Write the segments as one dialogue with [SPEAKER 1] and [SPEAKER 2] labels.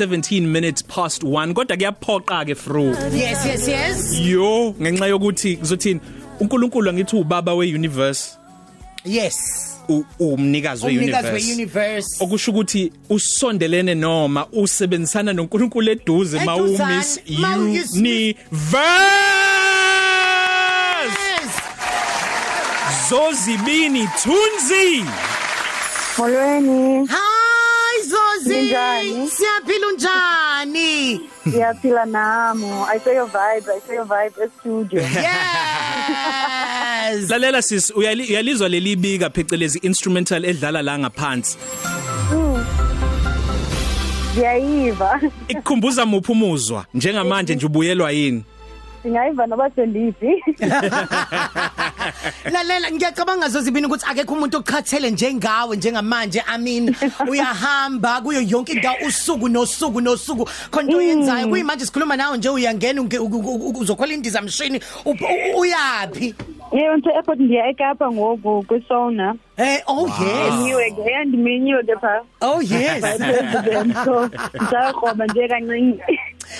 [SPEAKER 1] 17 minutes past 1 kodwa kuyaphoqa ke fru
[SPEAKER 2] Yes, yes, yes.
[SPEAKER 1] yo ngenxa yokuthi kuzothini uNkulunkulu ngithi ubaba weuniverse
[SPEAKER 2] Yes.
[SPEAKER 1] u- umnikazi
[SPEAKER 2] Umnikazi
[SPEAKER 1] weuniverse
[SPEAKER 2] weuniverse.
[SPEAKER 1] okusho ukuthi usondelene noma usebenzisana noNkulunkulu eduze
[SPEAKER 2] Eduzane,
[SPEAKER 1] mawumiss
[SPEAKER 2] mawuyis-
[SPEAKER 1] universe
[SPEAKER 2] Yes.
[SPEAKER 1] zozibini thunzi
[SPEAKER 3] Molweni,
[SPEAKER 2] Hi Zozi.
[SPEAKER 3] Ninjani?
[SPEAKER 2] Siyaphila unjani?
[SPEAKER 3] ngiyaphila e namo. I saw your vibe, I saw your vibe e-studio.
[SPEAKER 2] Yes.
[SPEAKER 1] lalela sis uyali- uyalizwa lelibika phecelezi instrumental edlala la ngaphansi
[SPEAKER 3] Ngiyayiva.
[SPEAKER 1] ikukhumbuza muphi umuzwa njengamanje nje ubuyelwa yini
[SPEAKER 3] Singayiva noba sendiphi.
[SPEAKER 2] Lalela ngiyacabanga zozibini ukuthi akekho umuntu oqhathele njengawe njengamanje. I mean, uyahamba kuyo yonke indawo usuku nosuku nosuku. Khonto yenzayo kuyimanje sikhuluma nawe nje uyangena unge- u- u- u- uzokhwela indizamshini uyapi?
[SPEAKER 3] Yebo, nje airport ngiya eKapa ngoku kwiSona.
[SPEAKER 2] Eh oh yes.
[SPEAKER 3] Ngiwe ke andimenyiwe ke pha.
[SPEAKER 2] Oh yes.
[SPEAKER 3] President so ngizakhoba nje kancane.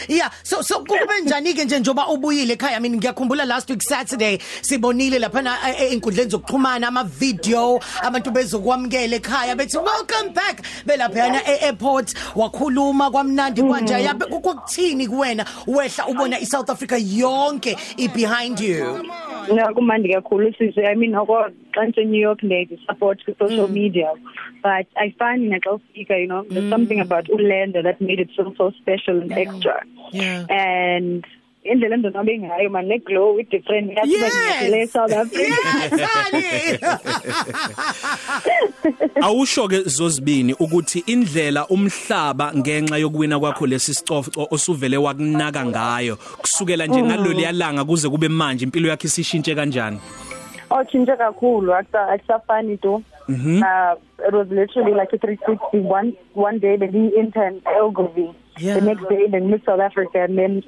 [SPEAKER 2] Yeah so so kube njani ke nje njoba ubuyile ekhaya I mean ngiyakhumbula last week Saturday sibonile lapha na einkundleni zokuxhumana ama video abantu bezokwamkela ekhaya bethi welcome back belapha yana e-airport wakhuluma kwamnandi kanje yabe kukuthini kuwena wehla ubona iSouth Africa yonke i behind you
[SPEAKER 3] No kumandi kakhulu sisi. I mean ngoko xa nje New York lady support ku social
[SPEAKER 2] Mm.
[SPEAKER 3] media. But I find naxa ufika you know there's something about uLanda that made it feel so special and extra.
[SPEAKER 2] Yeah
[SPEAKER 3] and indlela endonwabe ngayo man neglow i-different
[SPEAKER 2] Yes.
[SPEAKER 3] le South Africa
[SPEAKER 2] Yes honey
[SPEAKER 1] awusho ke zozibini ukuthi indlela umhlaba ngenxa yokuwina kwakho lesi sicoco osuvele wakunaka ngayo kusukela nje ngalolu yalanga kuze kube manje impilo yakhe isishintshe kanjani
[SPEAKER 3] otshintshe kakhulu akusa- akusafani tu
[SPEAKER 2] Mhm.
[SPEAKER 3] uh, it was literally like a 360 one, one day bendiyi-intern elgovy
[SPEAKER 2] Yeah.
[SPEAKER 3] the next day bengimis south africa and then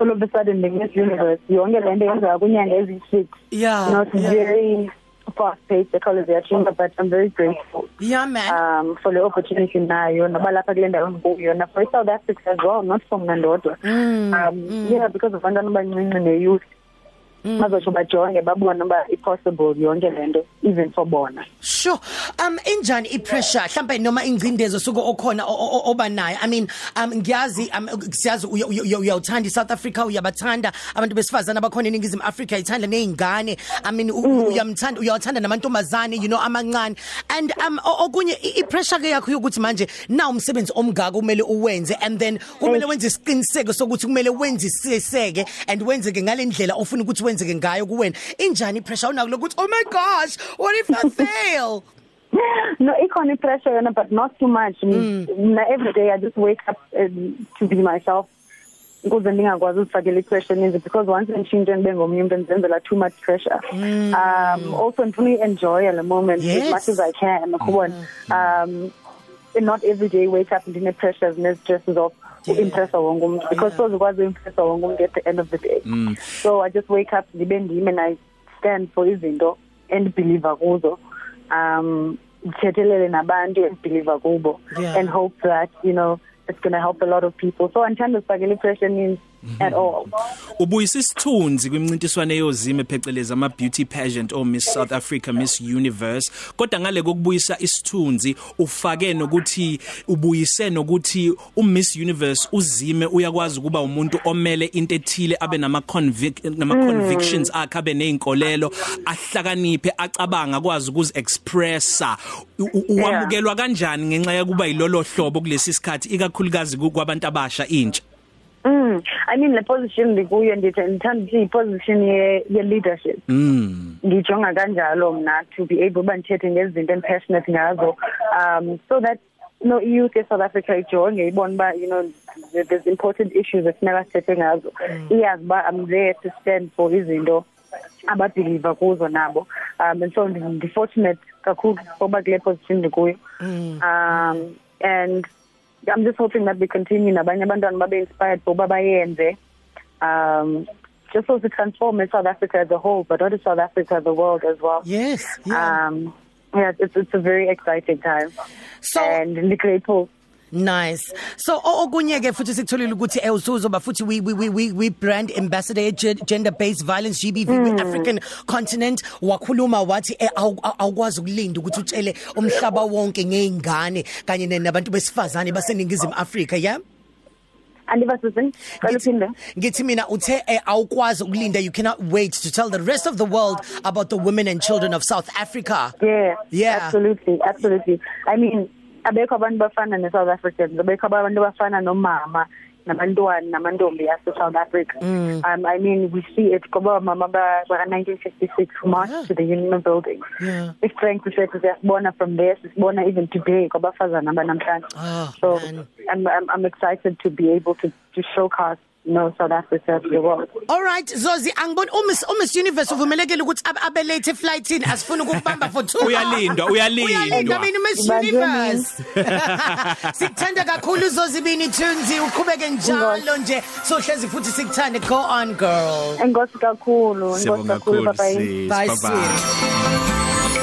[SPEAKER 3] all of a sudden bengimis universe yonke le nto yenzeka kwinyanga eziyi-six
[SPEAKER 2] Yeah,
[SPEAKER 3] you know, it's
[SPEAKER 2] yeah.
[SPEAKER 3] very fast paced ekhawulezi yatshintsha but i'm very grateful
[SPEAKER 2] Yeah man
[SPEAKER 3] um for le opportunity nayo noba lapha kule ndawo ndikuyona for i-south africa as well not for mna ndodwa um yeah because abantwana abancinci ne-youth bazotsho bajonge babone uba i-possible yonke le nto even for bona
[SPEAKER 2] Sure. Um injani ipressure mhlambe noma ingcindezo suku okhona o- o- o- oba nayo. I mean, um ngiyazi um siyazi uya- uya- uyawuthanda iSouth Africa, uyabathanda abantu besifazana abakhona eNingizimu Africa, ithanda neingane. I mean, u- uyamthanda uyawuthanda namantombazane, you know, amancane. And um o- okunye i- ipressure ke yakho ukuthi manje nawu umsebenzi omgaka kumele uwenze and then kumele wenze isiqiniseko sokuthi kumele wenze isiseke and wenzeke ngalendlela ofuna ukuthi wenzeke ngayo kuwena. Injani ipressure unako lokuthi oh my gosh, what if I fail?
[SPEAKER 3] no ikhona i-pressure yona but not too much mna every day i just wake up um, to be myself ukuze ndingakwazi uzifakela i-pressure eninzi because once nditshintshe ndibe ngomnye umntu ndizenzela too much pressure um also ndifuna uyi-enjoya le moment
[SPEAKER 2] Yes.
[SPEAKER 3] as much as i can kubona um and not every day wake up ndine-pressures nee-stresses of uimpressa wonke umntu because sozikwazi uimpressa wonke umntu at the end of the day so i just wake up ndibe ndim and i stand for izinto endibhiliva kuzo um ndithethelele nabantu endibhiliva kubo
[SPEAKER 2] Yeah.
[SPEAKER 3] and hope that you know it's going to help a lot of people so andithanda usifakela i-pressure eninzi at all
[SPEAKER 1] ubuyisa isithunzi kwimncintiswano eyozime phecelezi ama beauty pageant o Miss South Africa Miss Universe kodwa ngale kokubuyisa isithunzi ufake nokuthi ubuyise nokuthi u Miss Universe uzime uyakwazi ukuba umuntu omele into ethile abe nama convict nama convictions
[SPEAKER 2] Mm.
[SPEAKER 1] akhe abe neinkolelo ahlakaniphe acabanga akwazi ukuzi expressa U- u- uwamukelwa kanjani ngenxa yokuba yilolo hlobo kulesi sikhathi ikakhulukazi ku- kwabantu abasha intsha
[SPEAKER 3] Mm. I mean le position likuyo ndithi ngithanda ukuthi i-position ye, ye leadership. Mm. Ngijonga kanjalo mina to be able banthethe ngezinto and passionate ngazo. Um so that you know youth in South Africa ijonge ibone ba you know there- there's important issues esinaka sithethe ngazo. Iyazi ba I'm there to stand for izinto ababhiliva kuzo nabo. Um and so ndi fortunate kakhulu ngoba kule position likuyo. Mm. Um and I'm just hoping that we continue nabanye abantwana babe inspired boba bayenze um just so to transform South Africa as a whole but not just South Africa the world as well
[SPEAKER 2] Yes. Yeah.
[SPEAKER 3] Ah, um yeah it's it's a very exciting time
[SPEAKER 2] so
[SPEAKER 3] and we're grateful
[SPEAKER 2] Nice. So o- okunye ke futhi sikutholile ukuthi eh, usuzoba futhi we we we- we we brand ambassador ye gender based violence GBV mm. African continent wakhuluma wathi eh, awu- awu- awukwazi ukulinda ukuthi utshele umhlaba wonke ngeingane kanye ne- nabantu besifazane baseningizimu Africa yeah
[SPEAKER 3] Andiva Susan, call up in there.
[SPEAKER 2] ngithi mina uthe eh, awukwazi ukulinda you cannot wait to tell the rest of the world about the women and children of South Africa
[SPEAKER 3] Yeah.
[SPEAKER 2] Yeah.
[SPEAKER 3] Absolutely. Absolutely. I mean, abekho abantu bafana ne South Africans. Abekho abantu bafana nomama nabantwana namantombi yase South Africa. Mm. Um I mean we see it ngoba mama ba ba 1956 march
[SPEAKER 2] Yeah.
[SPEAKER 3] to the union building.
[SPEAKER 2] Yeah.
[SPEAKER 3] Istrength sethu siyasibona from there sisibona even today kwabafazana abanamhlanje.
[SPEAKER 2] Ah,
[SPEAKER 3] so
[SPEAKER 2] man.
[SPEAKER 3] I'm, I'm I'm excited to be able to to showcase you know South Africa to the world.
[SPEAKER 2] All right Zozi angiboni uMiss uMiss Universe uvumelekile ukuthi ab- abe late eflightini asifuni ukubamba for 2
[SPEAKER 1] Uyalindwa, uyalindwa.
[SPEAKER 2] Uyalindwa mina Miss
[SPEAKER 3] Ubanjwe
[SPEAKER 2] Universe Sikuthanda kakhulu Zozibini Tunzi uqhubeke njalo nje sohlezi futhi sikuthande go on girl
[SPEAKER 3] Enkosi kakhulu, enkosi kakhulu papa. yini.
[SPEAKER 1] sis.
[SPEAKER 2] Bye,
[SPEAKER 1] Bye-bye.
[SPEAKER 2] sis.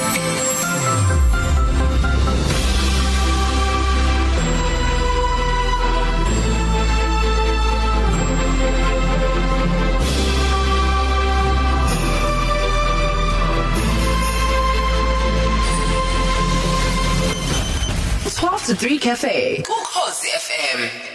[SPEAKER 4] It's past the 3 cafe. Ukhosi FM.